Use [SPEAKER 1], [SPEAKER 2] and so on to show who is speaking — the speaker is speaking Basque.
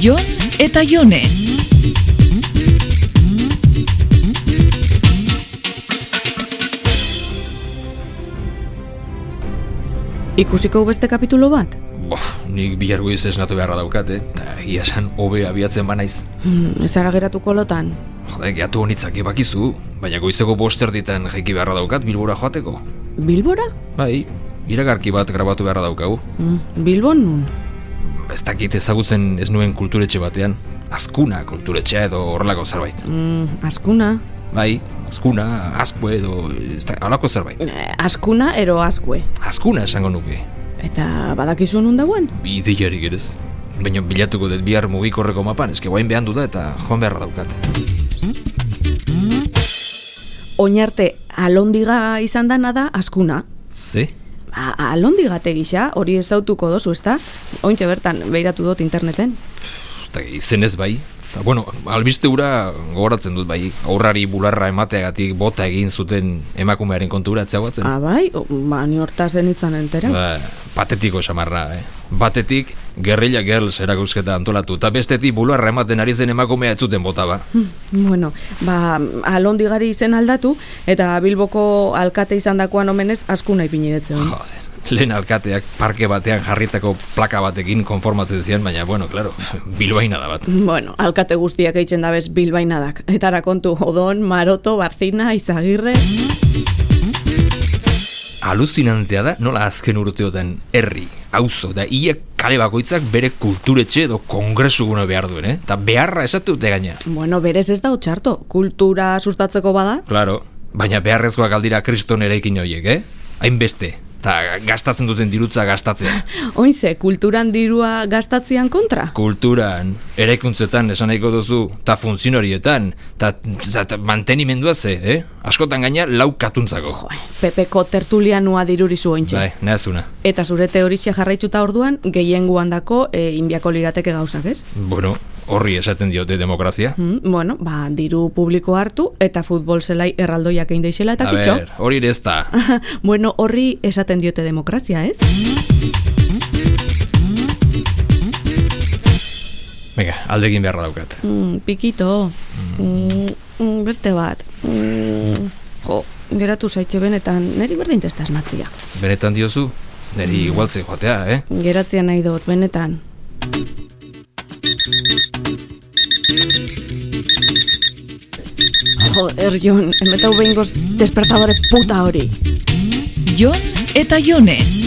[SPEAKER 1] Jon eta Jone.
[SPEAKER 2] Ikusiko beste kapitulo bat?
[SPEAKER 3] Bo, Oh, nik bihar goiz esnatu beharra daukat, eh? Eta egia esan hobe abiatzen banaiz.
[SPEAKER 2] Hmm, ez ara geratuko lotan.
[SPEAKER 3] Jode, gehiatu honitzak bakizu, baina goizeko bosterditan jaiki beharra daukat bilbora joateko.
[SPEAKER 2] Bilbora?
[SPEAKER 3] Bai, iragarki bat grabatu beharra daukagu.
[SPEAKER 2] Hmm, Bilbon nun?
[SPEAKER 3] Ez dakit ezagutzen ez nuen kulturetxe batean. Azkuna kulturetxea edo horrelako zerbait.
[SPEAKER 2] Hmm, askuna.
[SPEAKER 3] Bai, azkuna, azpue edo ez da, halako zerbait.
[SPEAKER 2] Eh, askuna ero askue.
[SPEAKER 3] Azkuna esango nuke.
[SPEAKER 2] Eta badakizu nun dagoen?
[SPEAKER 3] Bi ideiarik ere ez. Baina bilatuko dut bihar mugikorreko mapan, eske guain behan da eta joan beharra daukat.
[SPEAKER 2] Oinarte alondiga izan dana da askuna.
[SPEAKER 3] Ze?
[SPEAKER 2] Ba, alondigate gisa, hori ezautuko dozu, ezta? Ointxe bertan, behiratu dut interneten.
[SPEAKER 3] Eta izenez bai. Eta, bueno, albiste hura gogoratzen dut bai, aurrari bularra emateagatik bota egin zuten emakumearen kontura atzagoatzen.
[SPEAKER 2] Ah, bai, O, ba, ni hortaz enitzan entera.
[SPEAKER 3] Ba, patetiko samarra, eh? Batetik, gerrilla girls erakusketa antolatu, eta bestetik bularra ematen ari zen emakumea ez zuten bota ba.
[SPEAKER 2] Hmm. Bueno, ba, alondigari izen aldatu, eta Bilboko alkate izan dakoan omenez askuna ipini detzen.
[SPEAKER 3] Joder, lehen alkateak parke batean jarritako plaka batekin konformatzen zian, baina, bueno, claro, bilbaina da bat.
[SPEAKER 2] Bueno, alkate guztiak eitzen dabez bilbainadak. Etara kontu, odon, maroto, barzina, izagirre...
[SPEAKER 3] Aluzinantea da nola azken urteotan herri, auzo eta ia kale bakoitzak bere kulturetxe edo kongresugune behar duen, eh? Eta beharra esatu dute gaina.
[SPEAKER 2] Bueno, berez ez da otxarto, kultura sustatzeko bada.
[SPEAKER 3] Claro, baina beharrezkoak aldira kriston eraikin horiek, eh? Hainbeste, eta gastatzen duten dirutza gastatzea.
[SPEAKER 2] Oinze, kulturan dirua gastatzean kontra?
[SPEAKER 3] kulturan, eraikuntzetan esan nahiko duzu, eta funtzionarietan, eta mantenimendua ze, eh? Askotan gaina lau katuntzako.
[SPEAKER 2] Joe, Pepeko tertulianua dirurizu ointxe.
[SPEAKER 3] Bai, nahazuna.
[SPEAKER 2] Eta zure teorixia jarraituta orduan, gehiengoan dako e, inbiako lirateke gauzak, ez?
[SPEAKER 3] Bueno, horri esaten diote demokrazia.
[SPEAKER 2] Mm, bueno, ba, diru publiko hartu eta futbol zelai erraldoiak egin deixela eta
[SPEAKER 3] A
[SPEAKER 2] kitxo.
[SPEAKER 3] ber, hori ere ez da.
[SPEAKER 2] bueno, horri esaten diote demokrazia, ez?
[SPEAKER 3] Venga, alde egin beharra daukat.
[SPEAKER 2] Mm, pikito. Mm, mm, beste bat. Mm, jo, geratu zaitxe benetan, neri berdin testa esnatzia.
[SPEAKER 3] Benetan diozu, niri igualtze joatea, eh?
[SPEAKER 2] Geratzea nahi dut, benetan. Joder, Jon, emetau behingoz despertadore puta hori.
[SPEAKER 1] Jon eta Jone.